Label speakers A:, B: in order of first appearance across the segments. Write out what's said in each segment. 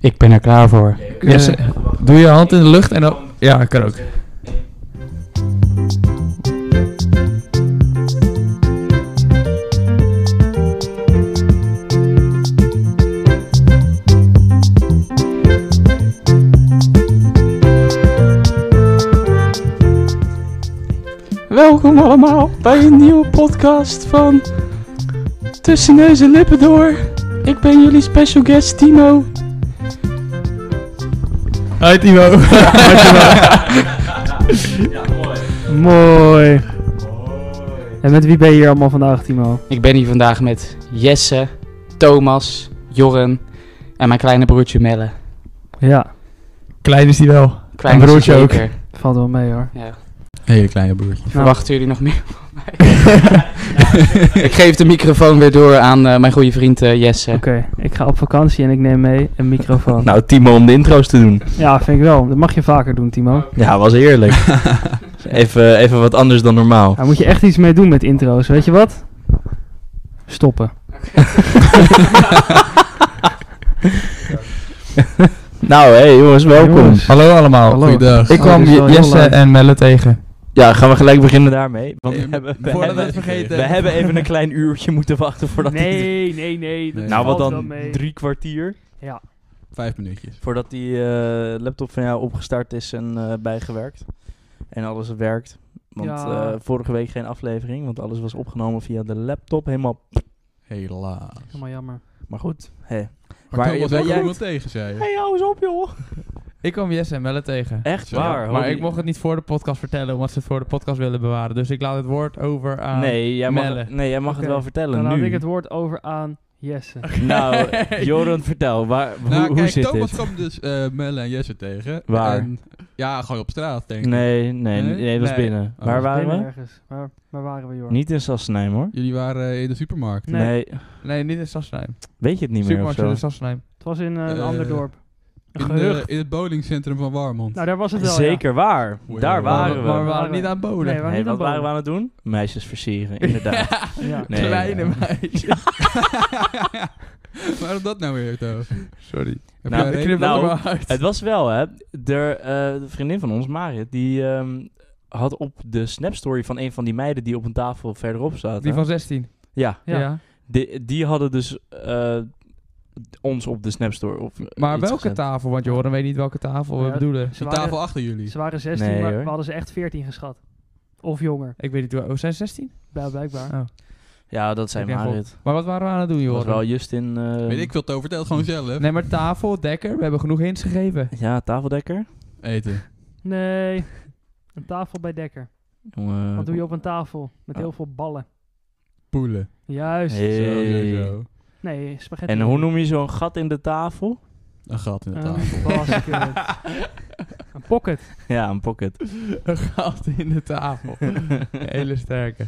A: Ik ben er klaar voor.
B: Yes. Doe je hand in de lucht en dan... Ja, kan ook.
A: Welkom allemaal bij een nieuwe podcast van Tussen Neus en Lippen Door. Ik ben jullie special guest Timo.
B: Hi Timo.
C: Mooi. En met wie ben je hier allemaal vandaag, Timo?
A: Ik ben hier vandaag met Jesse, Thomas, Jorren en mijn kleine broertje Melle.
C: Ja,
B: Klein is die wel.
A: Klein
B: En broertje ook.
A: zeker.
C: valt wel mee hoor.
A: Ja.
B: Hele kleine broertje.
A: Verwachten jullie nog meer van mij? ik geef de microfoon weer door aan eh, mijn goede vriend eh, Jesse.
C: Oké, ik ga op vakantie en ik neem mee een microfoon.
D: Nou, Timo om de intro's te doen.
C: Ja, vind ik wel. Dat mag je vaker doen, Timo.
D: Ja, was eerlijk. even, even wat anders dan normaal.
C: Daar moet je echt iets mee doen met intro's. Weet je wat? Stoppen.
D: Nou, hé hey, jongens, welkom.
C: Jongens.
B: Hallo allemaal,
C: Hallo.
B: goeiedag. Ik
C: Oh,
B: kwam
C: dit is wel
B: Je-
C: heel
B: Jesse
C: laat.
B: en Melle tegen.
D: Ja, gaan we gelijk beginnen daarmee. Want we
E: Ehm,
B: Eh,
D: hebben, we
B: voordat we
D: hebben,
B: het vergeten.
D: we hebben even een klein uurtje moeten wachten voordat die...
C: nee, nee.
B: dat
D: Nou, wat
B: valt
D: dan? Drie kwartier?
C: Ja.
B: Vijf minuutjes.
D: Voordat die eh, laptop van jou opgestart is en eh, bijgewerkt. En alles werkt. Want
C: Ja.
D: eh, vorige week geen aflevering, want alles was opgenomen via de laptop. Helemaal...
B: Helaas.
C: Helemaal jammer.
D: Maar goed, hé. Hey.
E: Maar
D: Maar
E: ik was
D: jij-
E: ook
D: jij-
E: iemand tegen, zei je.
D: hou eens op, joh.
B: Ik kwam Jesse en Melle tegen.
D: Echt
E: Zo,
D: waar,
B: Maar
D: homie.
B: ik mocht het niet voor de podcast vertellen, omdat ze het voor de podcast willen bewaren. Dus ik laat het woord over aan...
D: Nee, jij mag,
B: Melle.
D: het- nee, jij mag
C: Oké,
D: het wel vertellen
C: Dan
D: nu.
C: laat ik het woord over aan Jesse.
D: Nou, Joran, vertel. Waar, hoe,
E: Nou,
D: hoe
E: kijk,
D: zit
E: Thomas
D: dit?
E: kwam dus eh Melle en Jesse tegen.
D: Waar?
E: En- ja, gewoon op straat, denk ik.
D: Nee, nee, nee,
E: Nee?
D: nee, dat was
B: Nee.
D: binnen.
E: Oh, dat
D: Waar
E: was
D: waren
C: Binnen
D: we?
C: ergens. Waar, waar waren we, Jor?
D: Niet in Sassenheim, hoor.
E: Jullie waren eh, in de supermarkt.
C: Nee.
D: Nee.
B: Nee, niet in Sassenheim.
D: Weet je het niet meer of
B: Supermarkt
D: zo?
B: in Sassenheim.
C: Het was in eh, een
E: Eh,
C: ander dorp. Een
E: In,
C: gehucht.
E: eh, in het bowlingcentrum van Warmond.
C: nou, daar was het wel, ja.
D: Zeker waar.
E: Wow.
D: Daar waren
B: Maar we
D: we.
B: waren niet aan het bowlen.
C: Nee, we waren
D: Hey,
C: niet aan
D: wat waren we
C: boven.
D: aan het doen? Meisjes versieren, inderdaad.
C: Ja.
D: Nee,
B: Kleine
D: ja.
B: meisjes.
E: Waarom dat nou weer, Toon?
B: Sorry.
E: Heb
D: Nou,
E: jij
D: ik
E: een
D: knip
E: reden?
D: Nou,
B: Nou, uit.
D: Het was wel, hè. De, eh, de vriendin van ons, Marit, die ehm, had op de snapstory van een van die meiden die op een tafel verderop zaten.
B: Die van 16.
D: Ja,
C: Ja.
B: Ja.
D: die, die hadden dus eh, ons op de snapstory. Of eh,
B: Maar
D: iets
B: welke
D: gezet.
B: tafel? Want Joran weet niet welke tafel we
C: Ja.
B: bedoelen.
C: Ze
E: De
C: waren-
E: tafel achter jullie.
C: Ze waren 16,
D: Nee,
C: maar
D: hoor.
C: we hadden ze echt 14 geschat. Of jonger,
B: Ik weet niet, hoe- oh, zijn ze 16?
C: bij- blijkbaar.
B: Oh.
D: Ja, dat zijn
B: Ik denk
D: Marit.
B: Maar wat waren we aan het doen,
D: Dat was
B: Joran?
D: wel Justin... eh
E: Weet ik veel, Toon, vertel het gewoon zelf.
B: Nee, maar tafel, dekker, we hebben genoeg hints gegeven.
D: Ja, tafeldekker.
E: Eten.
C: Nee, een tafel bij Dekker.
D: Jongen.
C: Wat doe je op een tafel? Met
D: Ah.
C: heel veel ballen.
E: Poelen.
C: Juist.
D: Hey.
E: Zo, zo, zo.
C: Nee, spaghetti.
D: En hoe noem je zo'n gat in de tafel?
E: Een gat in de
C: Een
E: tafel.
D: eh,
C: basket. Een pocket.
D: Ja, een pocket.
B: Een gat in de tafel. Hele sterke.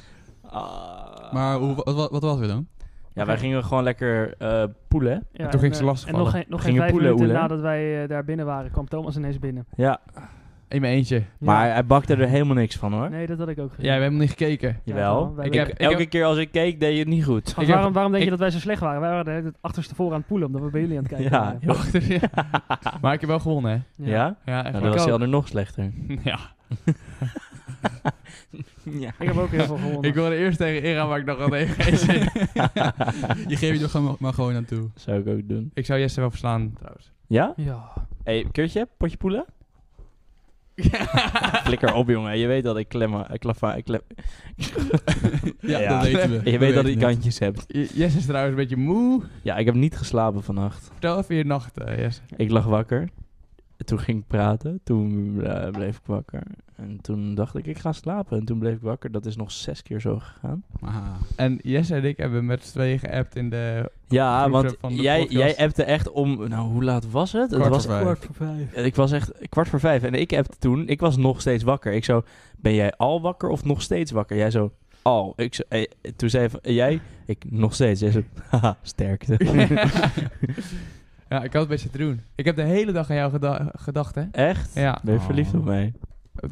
D: Ah.
E: Maar hoe, wat, wat, wat was er dan?
D: Ja, wij gingen gewoon lekker eh poelen.
C: Ja,
B: toen
C: en,
B: ging ze
C: eh, En
B: lastigvallen.
C: nog geen, nog geen
D: Gingen
C: vijf
D: poelen,
C: minuten
D: oelen, hè?
C: nadat wij eh, daar binnen waren, kwam Thomas ineens binnen.
D: Ja,
B: In mijn eentje. Jij
D: maar eh,
C: Ja.
D: hij bakte er helemaal niks van hoor.
C: Nee, dat had ik ook gezien.
B: hebt helemaal niet gekeken.
C: Ja,
D: Jawel.
C: wij
B: Ik
C: hebben-
B: heb- ik
D: Elke
B: heb-
D: keer als ik keek, deed je het niet goed.
C: Gast,
B: ik heb-
C: waarom, waarom denk
B: ik-
C: je dat wij zo slecht waren? Wij waren de hele tijd achterstevoren aan het poelen, omdat we bij jullie aan het kijken
D: Ja,
C: waren.
D: joh.
B: Maar ik heb wel gewonnen, hè?
D: Ja? ja?
B: Ja, echt
D: Nou,
B: waar.
D: dan was
B: Ik
D: hij
B: ook.
D: er nog slechter.
B: Ja.
D: Ja.
C: Ik heb ook heel veel gewonnen.
B: Ik wilde eerst tegen Ira, maar ik dacht dat hij geen zin. in.
E: Je geeft je er gewoon maar gewoon aan toe.
D: Zou ik ook doen.
B: Ik zou Jesse wel verslaan, trouwens.
D: Ja?
C: Ja.
D: Hé, hey, keurtje, potje poelen? Flikker op, jongen. Je weet dat ik klemmen... Ik klava, ik klem...
E: Ja,
D: Ja.
E: dat weten we.
D: Je weet dat ik
E: ik
D: kantjes heb.
B: Je- Jesse is trouwens een beetje moe.
D: Ja, ik heb niet geslapen vannacht.
B: Vertel even je nacht, eh, Jesse.
D: Ik lag wakker. Toen ging ik praten. Toen eh, bleef ik wakker. En toen dacht ik, ik ga slapen. En toen bleef ik wakker. Dat is nog zes keer zo gegaan. Ah.
E: Aha.
B: En Jesse en ik hebben met z'n tweeën geappt in de...
D: Ja,
B: Groeten
D: want
B: van de
D: jij,
B: podcast.
D: jij appte echt om... Nou, hoe laat was het?
E: Kwart
D: het
E: voor
D: was,
E: vijf.
C: voor vijf.
D: Ik was echt kwart voor vijf. En ik appte toen... Ik was nog steeds wakker. Ik zo, ben jij al wakker of nog steeds wakker? Jij zo, al. Ik zo, eh, toen zei van, eh, jij? Ik, nog steeds. Jij zo, haha, sterkte.
B: ja, ik had het beetje te doen. Ik heb de hele dag aan jou geda- gedacht, hè?
D: echt?
B: Ja.
D: Ben je verliefd
A: Oh.
D: op mij?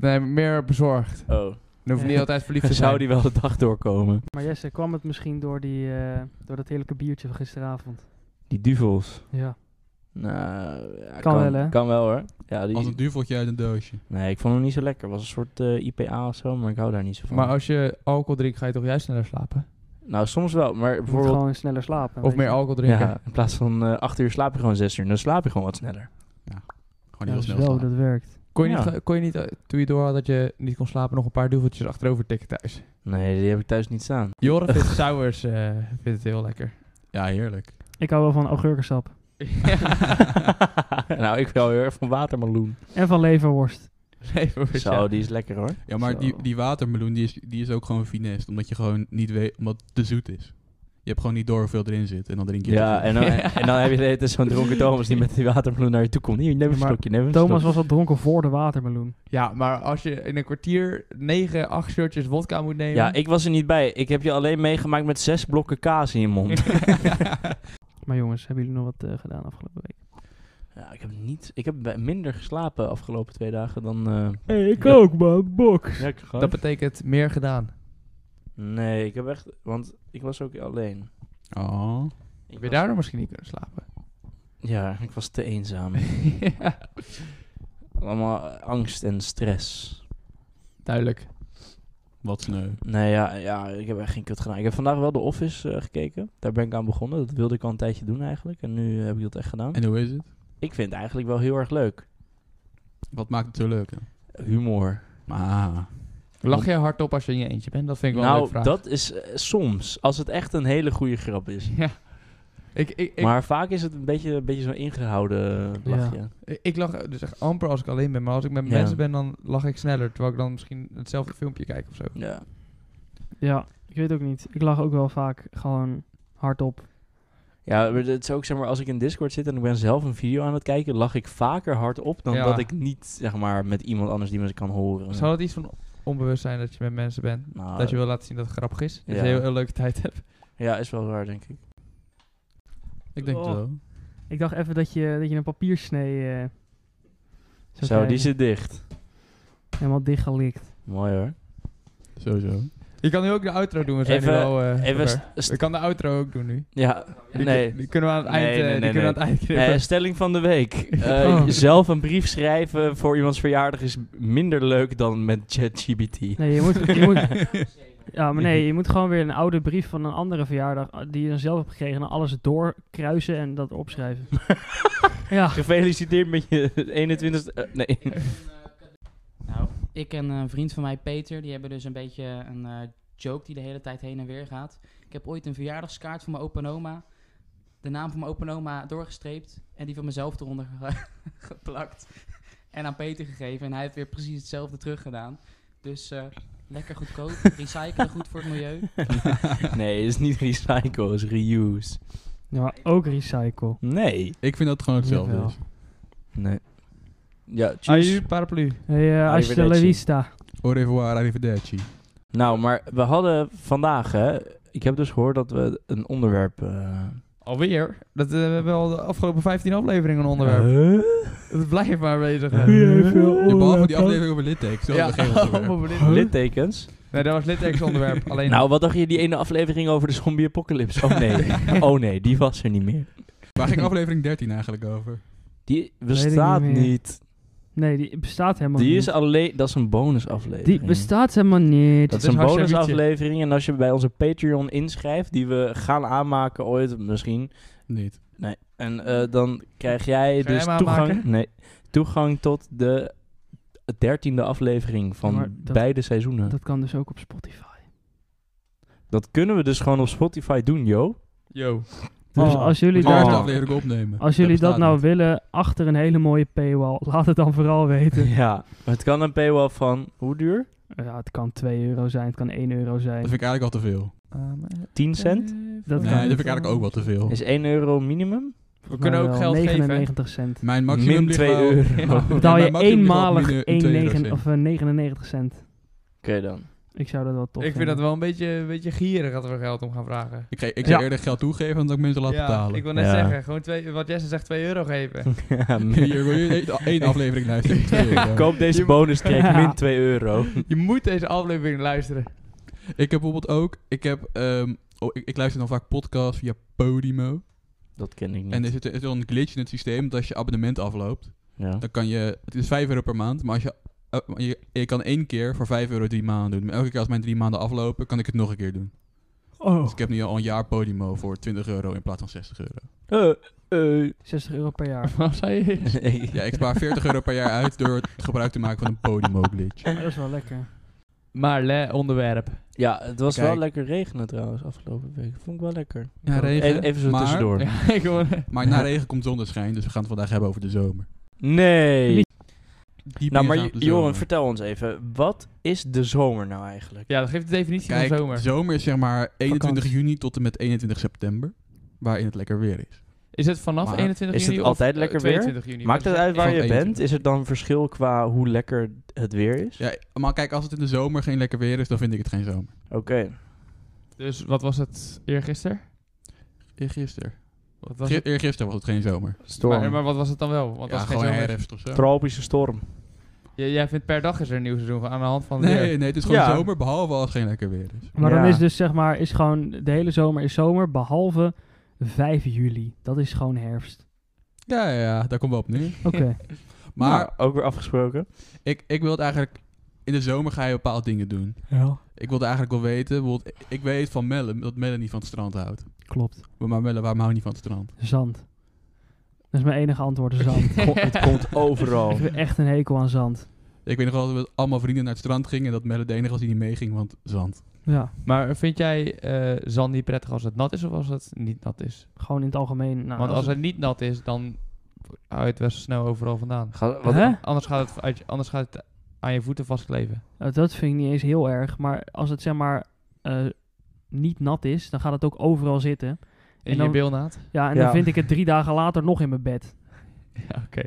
B: Nee, meer bezorgd.
D: Oh.
B: Dan hoef je
C: Ja.
B: niet altijd verliefd te zijn.
D: Zou die wel de dag doorkomen?
C: Maar Jesse, kwam het misschien door, die, eh, door dat heerlijke biertje van gisteravond?
D: Die duvels.
C: Ja.
D: Nou, ja, kan,
C: wel, hè?
D: Kan wel hoor. Ja, die,
E: Als een duveltje uit een doosje.
D: Nee, ik vond hem niet zo lekker. was een soort eh, IPA of zo, maar ik hou daar niet zo van.
B: Maar als je alcohol drinkt, ga je toch juist sneller slapen?
D: nou, soms wel, maar
C: Je moet
D: bijvoorbeeld...
C: gewoon sneller slapen.
B: Of
C: weet
B: meer
C: je.
B: alcohol drinken?
D: Ja, in plaats van eh acht uur slaap je gewoon zes uur. Dan slaap je gewoon wat sneller.
E: Gewoon
C: Ja,
E: heel
C: dat is
E: snel
C: wel,
E: slaan.
C: dat werkt.
B: Kon, je niet,
D: Ja.
B: ge- kon je niet, eh, toen je door had dat je niet kon slapen, nog een paar duveltjes achterover tikken thuis?
D: Nee, die heb ik thuis niet staan.
B: Joren vindt sours eh, vindt het heel lekker.
E: Ja, heerlijk.
C: Ik hou wel van augurkensap.
D: nou, ik wil heel erg van watermeloen.
C: En van leverworst.
B: Nee, voor mezelf.
D: Zo, die is lekker hoor.
E: Ja, maar
C: Zo.
E: die, die watermeloen die is, die is ook gewoon finest. Omdat je gewoon niet weet, omdat het te zoet is. Je hebt gewoon niet door hoeveel erin zit. En dan drink je te
D: Ja,
E: veel.
D: en dan, en dan heb je de hele tijd zo'n dronken Thomas die met die watermeloen naar je toe komt. Hier, neem een
C: Maar
D: slokje, neem een
C: Thomas
D: slokje.
C: was al dronken voor de watermeloen.
B: Ja, maar als je in een kwartier 9, 8 shirtjes wodka moet nemen.
D: Ja, ik was er niet bij. Ik heb je alleen meegemaakt met zes blokken kaas in je mond.
C: Maar jongens, hebben jullie nog wat eh, gedaan afgelopen week?
D: Ja, ik heb niet... Ik heb bij- minder geslapen afgelopen twee dagen dan... eh,
C: ik
D: Ja.
C: ook, man. Bok.
B: dat betekent meer gedaan.
D: Nee, ik heb echt... Want ik was ook alleen.
E: Oh.
D: Ik
B: Heb je daardoor misschien niet kunnen slapen?
D: Ja, ik was te eenzaam.
B: ja,
D: Allemaal eh, angst en stress.
B: duidelijk.
E: Wat sneu.
D: Nee, ja, ja, ik heb echt geen kut gedaan. Ik heb vandaag wel de Office eh, gekeken. Daar ben ik aan begonnen. Dat wilde ik al een tijdje doen eigenlijk. En nu eh, heb ik dat echt gedaan.
E: En hoe is het?
D: Ik vind het eigenlijk wel heel erg leuk.
E: Wat maakt het zo leuk dan?
D: Humor.
E: Ah.
B: Lach jij hardop als je in je eentje bent? Dat vind ik wel een
D: nou,
B: leuke vraag.
D: dat is eh, soms. Als het echt een hele goede grap is.
B: Ja. Ik, ik, ik,
D: Maar vaak is het een beetje, een beetje zo'n ingehouden
B: Ja.
D: lachje.
B: ik lach dus echt amper als ik alleen ben. Maar als ik met
D: Ja.
B: mensen ben, dan lach ik sneller. Terwijl ik dan misschien hetzelfde filmpje kijk of zo.
D: Ja.
C: Ja, ik weet ook niet. Ik lach ook wel vaak gewoon hardop.
D: Ja, maar het is ook zeg maar, als ik in Discord zit en ik ben zelf een video aan het kijken, lach ik vaker hard op dan
B: Ja.
D: dat ik niet, zeg maar, met iemand anders die me kan horen.
B: Zou dat iets van onbewust zijn dat je met mensen bent?
D: Nou,
B: Dat je wil laten zien dat het grappig is. Dat
D: Ja.
B: je een heel, heel leuke tijd hebt.
D: Ja, is wel waar, denk ik.
E: Ik denk
C: Oh.
E: het wel.
C: Ik dacht even dat je, dat je een papiersnee eh, zou
D: Zo, die
C: krijgen.
D: zit dicht.
C: helemaal dichtgelikt.
D: Mooi hoor.
E: Sowieso.
B: Je kan nu ook de outro doen. We zijn nu
D: Even-
B: al. eh,
D: Even
B: zover.
D: st-
B: ik kan de outro ook doen nu.
D: Ja,
B: Die, kun-
D: nee.
B: die kunnen we aan het eind,
D: Nee,
B: eh,
D: nee,
B: die
D: nee,
B: kunnen we aan het eind knippen.
D: Eh, stelling van de week. Eh,
C: Oh.
D: Zelf een brief schrijven voor iemands verjaardag is minder leuk dan met ChatGPT.
C: Nee, je moet, je moet, ja, maar nee, je moet gewoon weer een oude brief van een andere verjaardag eh, die je dan zelf hebt gekregen en alles doorkruisen en dat opschrijven. ja.
D: Gefeliciteerd met je 21ste... eh, nee.
F: Nou, ik en een vriend van mij, Peter, die hebben dus een beetje een eh, joke die de hele tijd heen en weer gaat. Ik heb ooit een verjaardagskaart van mijn opa en oma, de naam van mijn opa en oma doorgestreept en die van mezelf eronder ge- geplakt en aan Peter gegeven. En hij heeft weer precies hetzelfde teruggedaan. Dus eh, lekker goedkoop, recyclen goed voor het milieu.
D: nee, is niet recycle, is reuse.
C: ja, maar ook recycle.
D: Nee.
E: Ik vind dat het gewoon hetzelfde
C: Jawel.
E: is.
D: Nee. Ja,
B: Aju,
D: tjus.
B: paraplu.
D: Ah,
C: Hey, eh hasta la
D: Arrivederci.
C: vista.
E: Au revoir, arrivederci.
D: Nou, maar we hadden vandaag, hè... Ik heb dus gehoord dat we een onderwerp... eh,
B: Alweer. Dat eh, we hebben al de afgelopen 15 afleveringen een onderwerp. Het blijft maar bezig. hè.
E: Ja, behalve die aflevering over littekens. Ja.
B: allemaal voor dit.
D: Littekens.
B: Nee, dat was littekens onderwerp. Alleen
D: Nou, wat dacht je die ene aflevering over de zombie apocalypse? Oh nee. oh nee, die was er niet meer.
E: Waar ging aflevering 13 eigenlijk over?
D: Die
C: ik
D: bestaat
C: niet
D: niet.
C: meer. Nee, die bestaat helemaal
D: Die
C: niet.
D: is alleen, dat is een bonusaflevering.
C: die bestaat helemaal niet.
D: Dat is
B: is
D: een
B: Harsha Wietje.
D: bonusaflevering en als je bij onze Patreon inschrijft, die we gaan aanmaken ooit misschien.
E: Niet.
D: Nee. En eh, dan krijg jij
B: Ga jij
D: dus
B: hem
D: toegang,
B: aanmaken?
D: nee, toegang tot de dertiende aflevering van
C: Ja, maar dat-
D: beide seizoenen. Dat,
C: Dat kan dus ook op Spotify.
D: kunnen we dus gewoon op Spotify doen, joh.
B: Yo.
C: Dus
E: Oh.
C: als jullie,
E: Moet je
D: Oh.
E: eerst
C: daar,
E: de aflevering opnemen.
C: als jullie dat
E: bestaat
C: nou
E: niet.
C: willen, achter een hele mooie paywall, laat het dan vooral weten.
D: Ja. Het kan een paywall van, hoe duur?
C: ja, het kan 2 euro zijn, het kan 1 euro
E: Dat
C: zijn.
E: vind ik eigenlijk al te veel.
B: Ah,
C: Eh,
D: 10 cent?
C: Dat
E: Nee,
C: kan
E: dat
C: niet.
E: vind ik eigenlijk ook wel te veel.
D: Is 1 euro minimum?
B: We kunnen
C: Maar
B: ook
C: wel
B: geld geven.
C: 99 cent.
E: Mijn maximum
D: Min
E: ligt
D: 2
E: wel-
D: euro.
B: Ja.
D: Oké
C: Betaal
E: maar
C: je
E: maximaal ligt wel
C: eenmalig
E: min, eh,
C: 1,
E: 2 euro
C: of, eh, 99 cent.
D: dan.
C: Ik zou dat wel tof
B: Ik vind dat
C: vinden.
B: wel een beetje, een beetje gierig dat we geld om gaan vragen.
E: Ik, ge- ik
C: Ja.
E: zou eerder geld toegeven dan dat ik mensen laat betalen.
B: ik wil net
D: Ja.
B: zeggen, gewoon twee, wat Jesse zegt, 2 euro geven.
D: Ja, min-
E: Hier, wil je één- één aflevering luisteren? Twee euro.
D: Koop deze bonus track,
C: Ja.
D: min 2 euro.
B: Je moet deze aflevering luisteren.
E: Ik heb bijvoorbeeld ook... Ik, heb, ehm, oh, ik, ik luister dan vaak podcasts via Podimo.
D: Dat ken ik niet.
E: En er zit, er is wel een glitch in het systeem dat als je abonnement afloopt,
D: ja.
E: dan kan je... Het is 5 euro per maand, maar als je... eh, je, je kan één keer voor 5 euro drie maanden doen. Maar elke keer als mijn drie maanden aflopen, kan ik het nog een keer doen.
C: Oh,
E: Dus ik heb nu al een jaar Podimo voor 20 euro in plaats van 60 euro.
D: Eh, eh.
C: 60 euro per jaar.
B: Waarom zei je
E: Ja, ik spaar 40 euro per jaar uit door het gebruik te maken van een Podimo glitch.
C: Maar dat is wel lekker.
B: Maar le, onderwerp.
D: ja, het was
E: Kijk.
D: wel lekker regenen trouwens afgelopen week. Vond ik wel lekker.
E: Ja, regen.
D: Even, even zo
E: maar,
D: tussendoor.
B: Ja, ik hoor...
E: Maar nou- na regen komt zonneschijn, dus we gaan het vandaag hebben over de zomer.
D: Nee.
C: Niet-
E: Diep
D: Nou, maar
E: ingaan op de
D: Joren,
E: zomer.
D: vertel ons even. Wat is de zomer nou eigenlijk?
B: ja, dat geeft de definitie
E: Kijk,
B: van zomer.
E: is zeg maar 21
D: Vakantie.
E: juni tot en met 21 september, waarin het lekker weer is.
B: Is het vanaf
E: Maar
B: 21
D: is het
B: juni of
D: altijd
B: eh,
D: lekker weer?
B: 22 juni?
D: Maakt het uit waar
E: Van
D: je
E: 21.
D: bent? Is er dan verschil qua hoe lekker het weer is?
E: Ja, maar kijk, als het in de zomer geen lekker weer is, dan vind ik het geen zomer.
D: Oké.
B: Dus wat was het eergisteren?
E: Eergisteren.
B: Wat was
E: Ge-
B: het?
E: Eergisteren was het geen zomer.
D: Storm.
B: Maar, maar wat was het dan wel? Want
E: ja,
B: als het geen
E: gewoon
B: zomer is-
E: herfst of zo.
D: Tropische storm.
B: J- Jij vindt per dag is er een nieuw seizoen aan de hand van weer.
E: Nee, nee, het is gewoon
D: Ja.
E: zomer, behalve als het geen lekker weer is.
C: Maar
D: Ja.
C: dan is dus zeg maar, is gewoon de hele zomer is zomer, behalve 5 juli. Dat is gewoon herfst.
E: Ja, ja, ja, daar komt wel op neer.
C: Oké.
E: Maar
D: Nou, ook weer afgesproken.
E: ik, ik wil het eigenlijk... In de zomer ga je bepaalde dingen doen.
C: Ja,
E: Ik wilde eigenlijk wel weten... Bijvoorbeeld, ik weet van Melle dat Melle niet van het strand houdt.
C: klopt.
E: Maar Melle, waarom hou je niet van het strand?
C: Zand. Dat is mijn enige antwoord, zand.
D: Ko- het komt overal.
C: Ik heb echt een hekel aan zand.
E: Ik weet nog wel dat we allemaal vrienden naar het strand gingen... en dat Melle de enige was die niet meeging, want zand.
C: Ja,
B: Maar vind jij eh zand niet prettig als het nat is of als het niet nat is?
C: gewoon in het algemeen. Nou,
B: Want als
C: als
B: het niet nat is, dan hou je het best snel overal vandaan.
D: Ga- wat-
C: het- Hè?
B: Anders gaat het, uit je- anders gaat het aan je voeten vastkleven.
C: Nou, dat vind ik niet eens heel erg. Maar als het zeg maar eh, niet nat is, dan gaat het ook overal zitten.
B: In
C: En dan-
B: je bilnaad.
C: Ja, en
D: Ja.
C: dan vind ik het drie dagen later nog in mijn bed.
B: Ja, oké.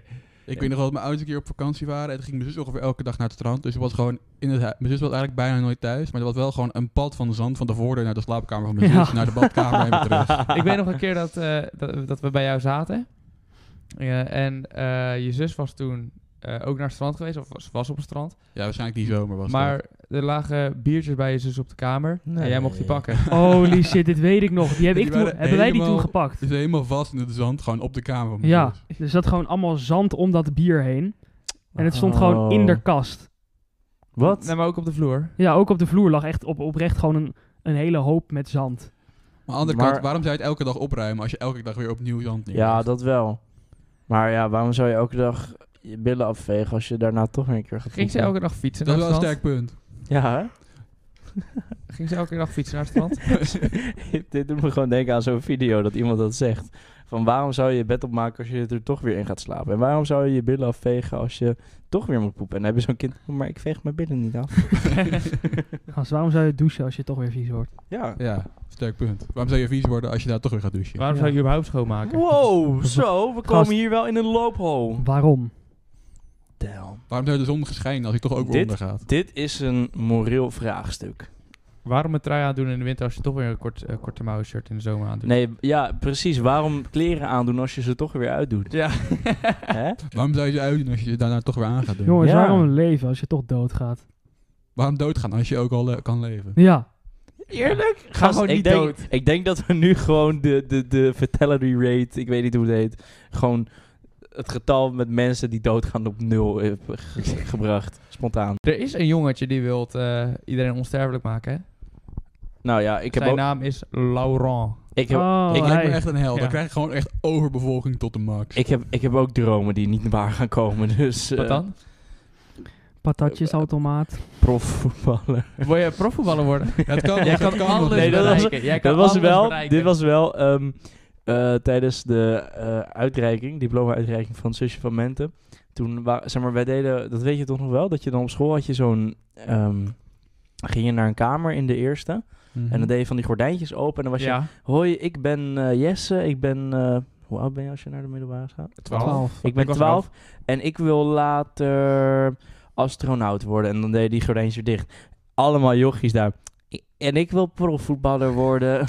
E: Ik weet nog wel dat mijn ouders een keer op vakantie waren. En toen ging mijn zus ongeveer elke dag naar het strand. Dus het was gewoon in het hui- Mijn zus was eigenlijk bijna nooit thuis. Maar er was wel gewoon een pad van zand van de voordeur naar de slaapkamer van mijn
C: Ja.
E: zus. Naar de badkamer en weer terug.
B: ik weet nog een keer dat, eh, dat, dat we bij jou zaten. Ja, en eh, je zus was toen eh, ook naar het strand geweest, of was, was op het strand.
E: Ja, waarschijnlijk die zomer was
B: maar er lagen biertjes bij je zus op de kamer. En jij mocht die
D: Nee.
B: pakken.
C: Holy shit, dit weet ik nog. Die heb
E: Die
C: ik toen,
E: waren
C: hebben wij die toen
E: helemaal-
C: gepakt.
E: Dus helemaal vast in het zand, gewoon op de kamer van mijn
C: Ja,
E: zus.
C: er zat gewoon allemaal zand om dat bier heen. En het stond gewoon in de kast.
D: Wat?
B: Nee, maar ook op de vloer.
C: Ja, ook op de vloer lag echt op, oprecht gewoon een, een hele hoop met zand.
E: Maar aan de andere
D: Maar-
E: kant, waarom zou je het elke dag opruimen als je elke dag weer opnieuw zand neemt?
D: Ja, dat wel. Maar ja, waarom zou je elke dag je billen afvegen als je daarna toch weer een keer gaat
B: Ging ze
D: poepen?
B: elke dag fietsen
E: dat is
B: naar
E: wel een
B: het
E: sterk punt.
D: Ja, hè?
B: strand? Ging ze elke dag fietsen naar het strand?
D: Dit doet me gewoon denken aan zo'n video dat iemand dat zegt. Van waarom zou je je bed opmaken als je er toch weer in gaat slapen? En waarom zou je je billen afvegen als je toch weer moet poepen? En dan heb je zo'n kind, "Oh, maar ik veeg mijn billen niet af.
C: Gast, waarom zou je douchen als je toch weer vies wordt?
D: Ja.
E: Ja, sterk punt. Waarom zou je vies worden als je daar toch weer gaat douchen?
B: Waarom zou je überhaupt schoonmaken?
D: Wow, zo, we komen
C: Gast.
D: hier wel in een loophol.
C: Waarom?
D: Damn.
E: Waarom zou de zon schijnen als hij toch ook weer
D: Dit-
E: ondergaat?
D: Dit is een moreel vraagstuk.
B: Waarom een trui aandoen in de winter als je toch weer een kort, eh, korte mouwen shirt in de zomer aandoet?
D: Nee, ja, precies. Waarom kleren aandoen als je ze toch weer uitdoet?
B: Ja.
D: Hè?
E: Waarom zou je ze uitdoen als je ze daarna toch weer aan gaat doen?
C: Jongens,
D: Ja.
C: waarom leven als je toch doodgaat?
E: Waarom doodgaan als je ook al eh, kan leven?
B: Oh,
C: Ja,
D: Eerlijk?
B: Ga gewoon
D: ik
B: niet
D: denk,
B: dood.
D: Ik denk dat we nu gewoon de, de, de fatality rate, ik weet niet hoe het heet, gewoon het getal met mensen die doodgaan op nul hebben ge- gebracht. Spontaan.
B: Er is een jongetje die wil eh, iedereen onsterfelijk maken. Hè?
D: Nou ja, ik heb
B: Zijn
D: ook...
B: naam is Laurent.
D: Ik heb,
C: Oh,
E: Dat
D: ik,
E: lijkt me
C: hey.
E: echt een hel.
B: Ja.
E: Dan krijg je gewoon echt overbevolking tot de max.
D: ik, heb, ik heb ook dromen die niet waar gaan komen, dus... eh,
B: Wat dan?
C: patatjesautomaat.
D: Profvoetballer.
B: Wil je profvoetballer worden?
E: Ja, het kan,
B: Jij
E: het
B: kan alles
E: nog.
D: Nee, dat was-
B: bereiken. Jij kan
D: Dat was
B: alles
D: wel,
B: bereiken.
D: dit was wel ehm, eh, tijdens de eh, uitreiking, diploma-uitreiking van het zusje van Mente. Toen, wa- zeg maar, wij deden, dat weet je toch nog wel, dat je dan op school had je zo'n, ehm, ging je naar een kamer in de eerste
E: Mhm.
D: en dan deed je van die gordijntjes open en dan was je,
B: ja,
D: hoi, ik ben eh, Jesse, ik ben, eh, hoe oud ben je als je naar de middelbare gaat?
B: 12.
D: Ik ben
B: Ik was
D: 12 en ik wil later astronaut worden. En dan deed die gordijntjes weer dicht. Allemaal jochies daar. I- En ik wil profvoetballer worden.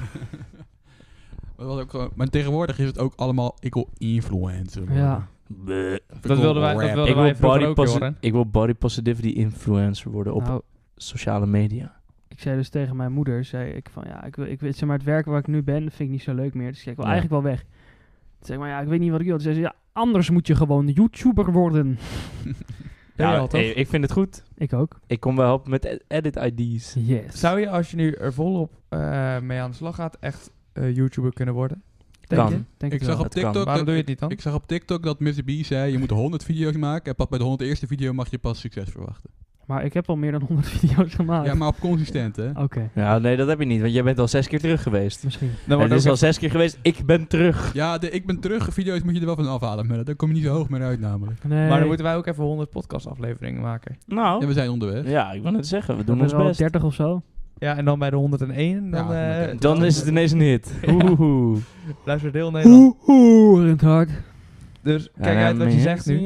E: Dat was ook gewoon- maar tegenwoordig is het ook allemaal, ik wil influencer worden.
C: Ja.
D: Bleh.
E: Of ik
B: Dat
E: wil
B: wilden wij, dat
E: rap.
B: wilden
D: ik,
B: wij
D: wil
B: vroeger
D: body
B: ook,
D: posi-
B: Joren.
D: ik wil body positivity influencer worden op
C: Nou,
D: sociale media.
C: ik zei dus tegen mijn moeder, zei ik van ja, ik wil, ik wil, zeg maar het werk waar ik nu ben, vind ik niet zo leuk meer. Dus ik wil
D: Ja.
C: eigenlijk wel weg. Toen Zeg maar, ja, ik weet niet wat ik wil. Toen zei ze, ja, anders moet je gewoon YouTuber worden.
B: Ben je
D: Ja,
B: al, toch?
D: hey, ik vind het goed.
C: Ik ook.
D: Ik kom wel helpen met ed- edit ID's.
C: Yes.
B: Zou je, als je nu er volop eh, mee aan de slag gaat, echt eh, YouTuber kunnen worden? Denk
D: Kan.
B: je?
C: Denk
E: Ik
C: het
E: zag
C: wel.
E: op
D: Dat kan.
E: TikTok...
B: Waarom
E: dat-
B: doe je het niet dan?
E: Ik zag op TikTok dat Mr. B zei, je moet 100 video's maken en pas bij de 101ste video mag je pas succes verwachten.
C: Maar ik heb al meer dan 100 video's
B: Ah.
C: gemaakt.
E: Ja, maar op consistent, hè?
B: Oh.
C: Oké,
D: Ja, nee, dat heb je niet, want jij bent al zes keer terug geweest.
C: misschien.
B: Dan
D: het
B: wordt
D: is
B: ook
D: al zes keer geweest, ik ben terug.
E: Ja, de, ik ben terug. Video's moet je er wel van afhalen, maar daar kom je niet zo hoog meer uit namelijk.
C: Nee,
B: Maar dan moeten wij ook even 100 podcastafleveringen maken.
E: Ja,
D: Nou,
E: we zijn onderweg.
D: ja, ik wil het zeggen, we
C: we
D: doen ons
C: wel
D: best.
C: 30 of zo.
B: Ja, en dan bij de 101, dan,
E: Ja,
B: eh,
E: oké.
D: Dan is het ineens een hit. Oeh.
B: luister deel Nederland.
C: Oeh, oeh, in het hart.
B: Dus kijk uit wat je zegt nu.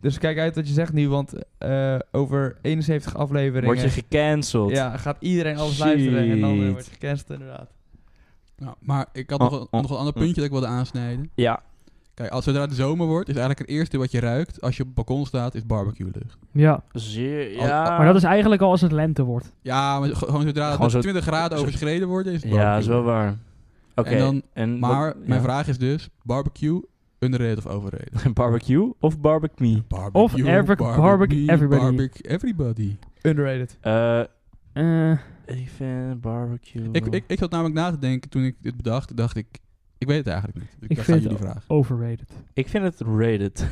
B: Dus kijk uit wat je zegt nu, want eh, over 71 afleveringen...
D: Word je gecanceld.
B: Ja, gaat iedereen alles luisteren en dan eh,
D: Shit.
B: wordt je gecanceld inderdaad.
E: Nou, maar ik had
D: Oh,
E: nog, een,
D: oh,
E: nog een ander
D: oh.
E: puntje dat ik wilde aansnijden.
D: Ja,
E: Kijk, als zodra het zomer wordt, is eigenlijk het eerste wat je ruikt als je op het balkon staat, is barbecue lucht.
C: Ja,
D: zeer,
E: Al-
D: ja.
C: maar dat is eigenlijk al als het lente wordt.
E: Ja, maar ge- gewoon zodra
D: Gewoon
E: het
D: zo-
E: 20 graden
D: zo-
E: overschreden worden, is het
D: Ja,
E: barbecue.
D: is wel waar. Oké,
E: En dan-
D: en wat-
E: Maar mijn
D: ja.
E: vraag is dus, barbecue, underrated of overrated?
D: barbecue of barbecue?
E: Barbecue,
C: every- barbecue, everybody.
E: Barbecue, everybody.
B: Underrated.
D: Eh
C: Eh,
D: ik vind barbecue...
E: Ik, ik, ik zat namelijk na te denken toen ik dit bedacht, dacht ik, ik weet het eigenlijk niet. Dus ik
C: Ik
E: dacht aan
C: vind
E: jullie
C: het
E: vraag.
C: overrated.
D: Ik vind het rated.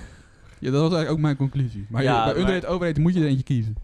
E: Ja, dat was eigenlijk ook mijn conclusie. Maar
D: Ja,
E: ja, bij
D: maar-
E: underrated overrated moet je er eentje kiezen.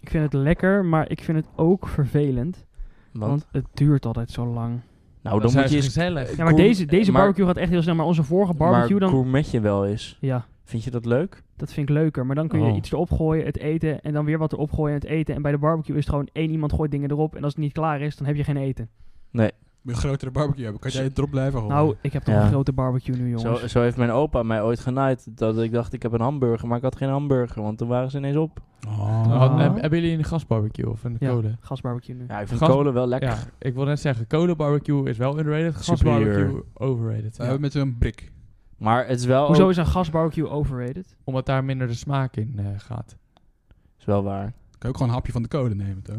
C: Ik vind het lekker, maar ik vind het ook vervelend.
D: Want,
C: Want het duurt altijd zo lang.
D: nou, dan moet je eens...
B: gezellig.
C: Ja, maar
D: Gour-
C: deze, deze
D: eh, maar-
C: barbecue gaat echt heel snel. Maar onze vorige barbecue
D: maar
C: dan...
D: gourmetje wel is.
C: Ja,
D: Vind je dat leuk?
C: dat vind ik leuker. Maar dan kun je
D: Oh.
C: iets erop gooien, het eten. En dan weer wat erop gooien, het eten. En bij de barbecue is het gewoon één iemand gooit dingen erop. En als het niet klaar is, dan heb je geen eten.
E: Moet je een grotere barbecue hebben, kan jij het erop blijven houden?
C: Nou, ik heb toch
D: Oh. Ja.
C: een grote barbecue nu, jongens.
D: Zo, zo heeft mijn opa mij ooit genaaid. Dat ik dacht, ik heb een hamburger, maar ik had geen hamburger. Want toen waren ze ineens op.
E: Oh.
C: Ah.
B: hebben jullie een gasbarbecue of een
C: Ja.
B: kolen?
C: Gasbarbecue nu.
D: Ja, ik vind
B: Gas-
D: kolen wel lekker.
B: Ja, ik wil net zeggen, kolenbarbecue is wel underrated,
D: Superieur.
B: gasbarbecue overrated.
E: We hebben met zo'n brik.
D: Maar het is wel,
C: Hoezo
D: ook-
C: is een gasbarbecue overrated?
B: Omdat daar minder de smaak in eh, gaat.
D: is wel waar.
E: Kan je ook gewoon een hapje van de code nemen, toch?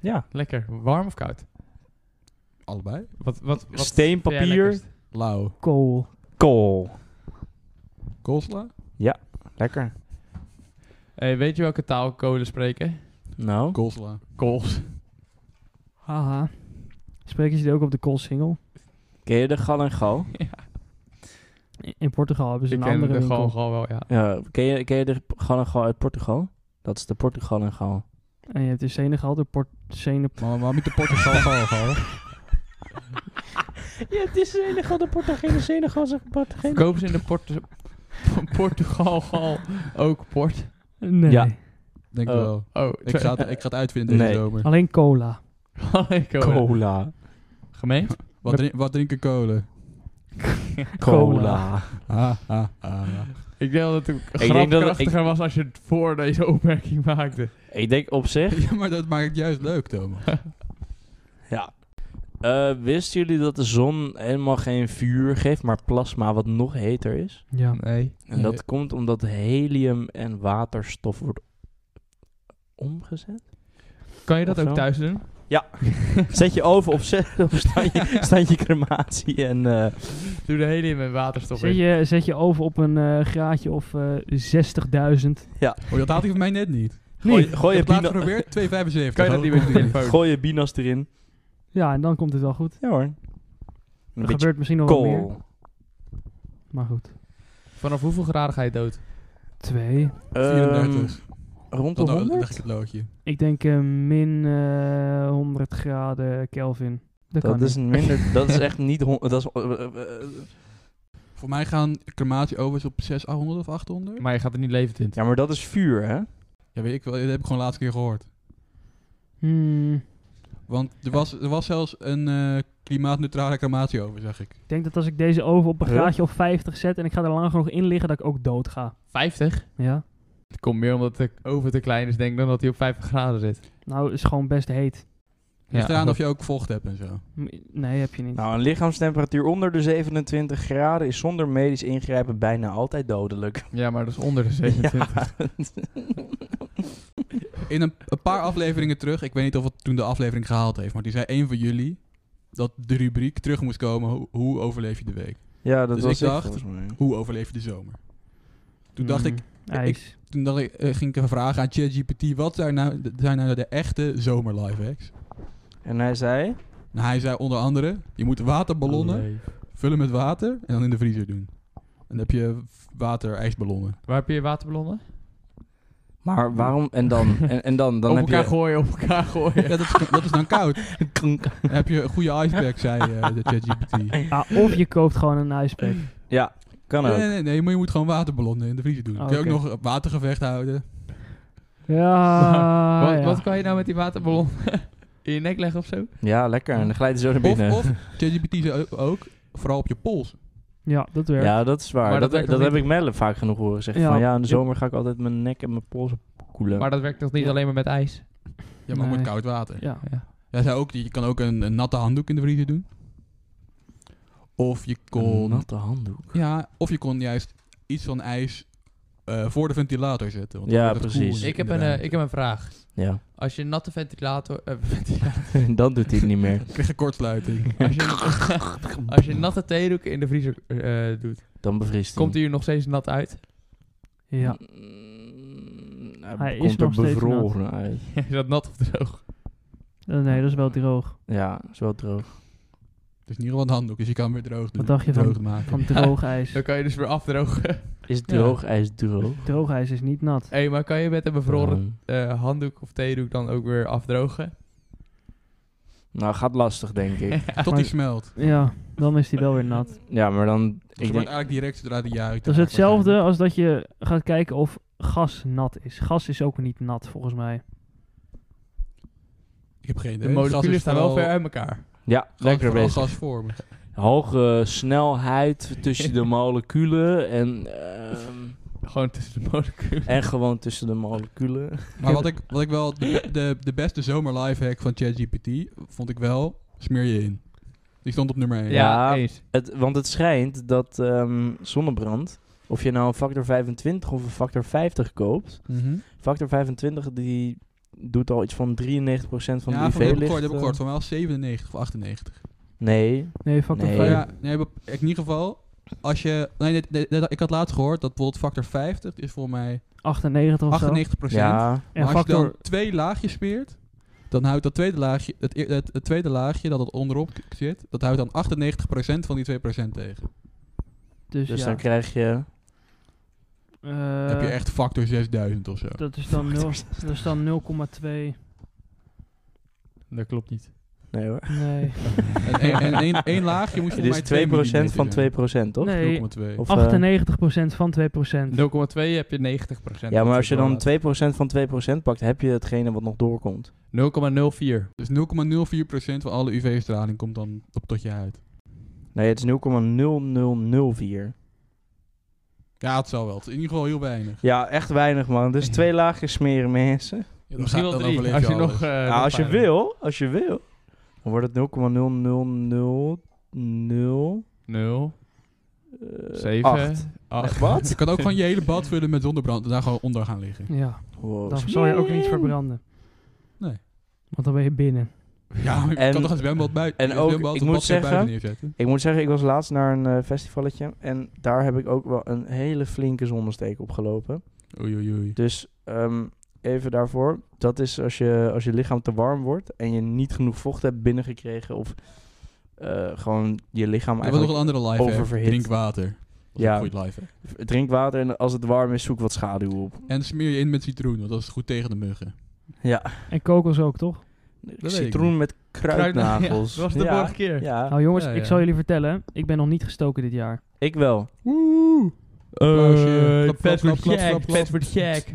D: Ja.
B: Lekker, warm of koud?
E: Allebei.
B: Wat, wat, wat
D: Steen,
B: vind jij
D: papier.
B: lekkerst?
E: Lauw.
C: Kool.
D: Kool.
E: Koolsla?
D: Lekker.
B: Hey, Eh, weet je welke taal kolen spreken?
D: Nou.
E: Koolsla.
B: Kools.
C: Haha. Spreken ze dit ook op de koolsingel?
D: Ken je de gal en gal?
C: In- In Portugal hebben ze
B: Ik
C: een
B: ken
C: andere
B: de
C: winkel.
B: gewoon, gewoon wel, ja.
D: Ja, ken, je, ken je de gal en gal uit Portugal? Dat is de Portugal en gal.
C: En je hebt in Senegal de port... Sene...
E: Maar waarom niet de Portugal gal gal?
D: Ja, het is Senegal, de Portugese Senegal, zegt Portugese.
B: Koop ze in de Portu Portugal gal ook port?
C: Nee.
D: Ja.
E: Denk
D: Oh.
E: ik wel.
B: Oh,
E: Ik ga, het, ik ga het uitvinden
D: Nee.
E: deze zomer.
C: Alleen cola.
B: Allee, kolen.
D: Cola.
B: Gemeen?
E: Wat, drink- wat drinken kolen?
D: Cola.
E: Ah, ah, ah.
B: Ik denk dat het ook
D: denk dat het-
B: grapkrachtiger was als je het voor deze opmerking maakte.
D: Ik denk op zich.
E: Ja, maar dat maakt het juist leuk, Thomas.
D: Ja. Eh, wisten jullie dat de zon helemaal geen vuur geeft, maar plasma wat nog heter is?
C: Ja.
B: Nee.
D: En
E: Nee.
D: dat komt omdat helium en waterstof wordt omgezet.
B: Kan je dat
D: Of
B: ook
D: zo?
B: thuis doen?
D: Zet je oven op, zet, op standje, standje crematie en... eh,
B: Doe de hele in met waterstof
C: Zet
B: in.
C: je, zet je oven op een eh, graadje of eh 60.000.
E: Oh, dat had hij van mij net niet.
B: Oh,
D: gooi, gooi,
E: ik
D: je
E: heb het laatst
D: bina,
E: geprobeerd, 2,75.
B: Kan je dat niet met je
E: Komt ie niet.
B: telefoon?
D: gooi je binas erin.
C: Ja, en dan komt het wel goed.
D: Ja hoor. Een
C: Er
D: beetje
C: gebeurt misschien nog wel meer.
D: kool.
C: Maar goed.
B: Vanaf hoeveel graden ga je dood?
C: Twee.
D: Ehm,
B: Eh,
E: 34.
D: rond de
E: Dan dan
D: 100?
E: nou, leg ik het loodje.
C: Ik denk eh, min eh 100 graden Kelvin. Dat,
D: Dat
C: kan
D: is,
C: niet.
D: minder, dat is echt niet... hon- Dat is, eh, eh, eh,
E: Voor mij gaan crematieovens op 600 of 800.
B: Maar je gaat er niet levend in.
D: ja, maar dat is vuur, hè?
E: Ja, weet ik wel. Dat heb ik gewoon de laatste keer gehoord.
C: Hmm,
E: Want er was, er was zelfs een eh, klimaatneutrale crematieoven, zag ik.
C: ik denk dat als ik deze oven op een
D: Huh?
C: graadje of 50 zet en ik ga er lang genoeg in liggen, dat ik ook dood ga.
B: 50?
C: Ja.
B: Het komt meer omdat de oven te klein is, denk ik, dan dat hij op 50 graden zit.
C: Nou, is gewoon best heet.
E: Ja,
B: Ja,
E: Dus eraan
B: dat-
E: of je ook vocht hebt en zo.
C: M- Nee, heb je niet.
D: Nou, een lichaamstemperatuur onder de 27 graden is zonder medisch ingrijpen bijna altijd dodelijk.
B: Ja, maar dat is onder de 27.
E: In een, een paar afleveringen terug, ik weet niet of het toen de aflevering gehaald heeft, maar die zei een van jullie dat de rubriek terug moest komen. Ho- hoe overleef je de week?
D: Ja, dat
E: Dus
D: was
E: ik dacht-
D: volgens mij.
E: Hoe overleef je de zomer? Toen dacht
C: Hmm.
E: ik,
C: Ijs.
E: toen dacht ik, eh, ging ik even vragen aan ChatGPT, wat zijn nou, de- zijn nou de echte zomer lifehacks?
D: En hij zei...
E: Nou, hij zei onder andere, je moet waterballonnen vullen met water en dan in de vriezer doen. En dan heb je water-ijsballonnen.
B: Waar heb je je waterballonnen?
D: Maar waarom... En dan? En, en dan? Dan
B: op
D: heb
B: elkaar
D: je...
B: gooien, op elkaar gooien.
E: Ja, dat, is, dat is dan koud. Dan heb je een goede icepack, zei eh, de ChatGPT. Nee,
C: Ah, of je koopt gewoon een ijspack.
D: Ja, kan ook.
E: nee, nee, nee, maar je moet gewoon waterballonnen in de vriezer doen.
C: Oh,
E: Kun je ook
C: oké.
E: nog een watergevecht houden.
C: Ja,
B: wat,
C: ja.
B: wat kan je nou met die waterballon in je nek leggen of zo?
D: Ja, lekker. En dan glijdt hij zo naar
E: Of,
D: binnen.
E: of ChatGPT zei ook, ook, vooral op je pols.
C: Ja, dat werkt.
D: Ja, dat is waar.
B: Maar dat
D: dat dat,
B: werkt nog
D: heb ik Melle vaak genoeg horen zeggen.
C: Ja.
D: Van ja, in de
C: Ja.
D: zomer ga ik altijd mijn nek en mijn polsen koelen.
B: Maar dat werkt toch niet
C: Ja.
B: alleen maar met ijs?
E: Ja, maar ook
C: Nee.
E: met koud water.
B: Oh.
C: Ja.
E: Hij zei ook, je kan ook een, een natte handdoek in de vriezer doen. Of je
D: Een
E: kon,
D: natte handdoek.
E: ja, of je kon juist iets van ijs eh, voor de ventilator zetten. want dan
D: Ja,
E: wordt het koel
D: precies.
E: in-
B: Ik
E: in
B: heb,
E: de
B: een, eh,
E: ruimte.
B: ik heb een vraag.
D: Ja,
B: Als je een natte ventilator... eh, ventilator-
D: dan doet hij het niet meer.
E: Ik kreeg een kortsluiting.
B: als, je, als je natte theedoeken in de vriezer eh, doet,
D: Dan bevriest hij.
B: komt hij er nog steeds nat uit?
C: ja.
D: Mm, Hij,
C: Hij
D: komt
C: is
D: er
C: nog steeds
D: bevroren uit.
B: is dat nat of droog?
C: Eh, Nee, dat is wel droog.
D: Ja, is wel droog.
E: Dus in ieder geval een handdoek, dus je kan hem weer droog
C: Wat
E: doen.
C: dacht je
E: droog
C: van-
E: maken.
C: Van droog ijs.
B: Dan kan je dus weer afdrogen.
D: Is
E: Ja.
D: droog ijs droog?
C: Droog ijs is niet nat.
B: Hé, maar kan je met een bevroren
D: Um,
B: eh, handdoek of theedoek dan ook weer afdrogen?
D: nou, gaat lastig, denk ik.
E: Tot die smelt.
C: Ja, dan is die wel weer nat.
D: ja, maar dan...
E: Dus
D: Ik
E: je wordt
D: denk,
E: eigenlijk direct zodra die jaar uit.
C: Dat is hetzelfde als dat je gaat kijken of gas nat is. Gas is ook niet nat, volgens mij.
E: Ik heb geen idee.
B: De
E: Gas is
B: moleculen staan wel
E: vooral-
B: ver uit elkaar.
D: ja,
E: gas is
D: lekker
E: vooral
D: bezig.
E: gasvormig.
D: Hoge snelheid tussen de moleculen en... ehm,
B: Gewoon tussen de moleculen.
D: en gewoon tussen de moleculen.
E: Maar wat ik, wat ik wel... De, de, de beste zomer lifehack van ChatGPT vond ik wel... Smeer je in. Die stond op nummer 1.
B: Ja,
D: Ja.
B: eens.
D: Het, want het schijnt dat ehm, zonnebrand, of je nou een factor 25 of een factor 50 koopt,
E: Mhm.
D: factor 25 die doet al iets van 93% van
E: ja,
D: de
E: van, heb ik
D: UV-licht.
E: kort, heb ik
D: eh,
E: kort. Van wel 97 of 98.
D: Nee,
C: Nee, factor
D: Nee.
E: Maar
C: 5.
E: ja, nee, maar in ieder geval... Als je... Nee, dit- dit- dit- ik had laatst gehoord dat bijvoorbeeld factor 50 is voor mij
C: 98 of zo.
E: 98 procent. Dus
D: ja,
C: En
E: maar als je
C: factor...
E: dan twee laagjes smeert, dan houdt dat tweede laagje, het, eer- het, het tweede laagje dat het onderop k- zit, dat houdt dan 98% van die 2% tegen.
C: Dus,
D: dus
C: ja. Eh,
D: dan krijg je...
E: Dan heb je
B: Eh.
E: echt factor 6000 of zo.
C: Dat is dan, nul- dat is dan 0,2.
B: Dat klopt niet.
D: Nee hoor.
C: Nee.
E: En één- en één- één laagje moet je
D: Het
E: voor mij
D: is 2%
E: 2
D: van 2%, toch?
C: nee.
E: 0,2.
D: Of, eh,
C: 98% van 2%.
B: 0,2 heb je 90%.
D: ja, maar
B: Dat
D: als
B: is
D: je
B: wel
D: dan
B: wat.
D: 2% van 2% pakt, heb je hetgene wat nog doorkomt.
B: 0,04.
E: Dus 0,04% van alle UV-straling komt dan op tot je huid.
D: Nee, het is 0,0004.
E: Ja, het zal wel. Het is in ieder geval heel weinig.
D: Ja, echt weinig man. Dus twee laagjes smeren mensen.
E: Ja,
B: Misschien wel
E: dan
B: drie,
E: overleef
B: als je
E: alles.
B: nog... eh,
D: Ja,
B: nog
D: als je
B: veilig bent.
D: wil, als je wil, dan wordt het 0,0000.
B: Nul,
D: eh,
B: zeven,
D: acht.
B: acht.
D: eh, Wat?
E: Je kan ook gewoon je hele bad vullen met zonnebrand en daar gewoon onder gaan liggen.
C: Ja,
D: Wow.
C: dan zal je ook niet verbranden.
E: Nee.
C: Want dan ben je binnen.
E: Ja, maar je
D: En-
E: kan toch een zwembad buiten.
D: en
E: een
D: ook,
E: zwembad,
D: ik
E: een
D: moet
E: badkuip buiten
D: zeggen-
E: neerzetten.
D: Ik moet zeggen, ik was laatst naar een eh, festivalletje en daar heb ik ook wel een hele flinke zonnesteek opgelopen.
E: Oei, oei, oei.
D: Dus ehm, even daarvoor, dat is als je, als je lichaam te warm wordt en je niet genoeg vocht hebt binnengekregen of eh, gewoon je lichaam
E: We hebben nog
D: eigenlijk...
E: een andere live.
D: oververhit.
E: Drink water. Dat is
D: Ja.
E: een goed live.
D: Drink water en als het warm is, zoek wat schaduw op.
E: En smeer je in met citroen, want dat is goed tegen de muggen.
D: Ja,
C: En kokos ook, toch?
E: weet ik
D: citroen
E: niet.
D: met kruidnagels.
B: Ja, dat was de
D: Ja,
B: vorige keer.
D: Ja,
C: Nou jongens,
B: Ja, ja.
C: ik zal jullie vertellen. Ik ben nog niet gestoken dit jaar.
D: ik wel.
B: Woe!
E: Applausje.
B: Eh,
E: Klap, klap,
B: Pet wordt
E: klap,
B: gek,
E: klap, klap,
B: pet
E: klap.
B: wordt gek.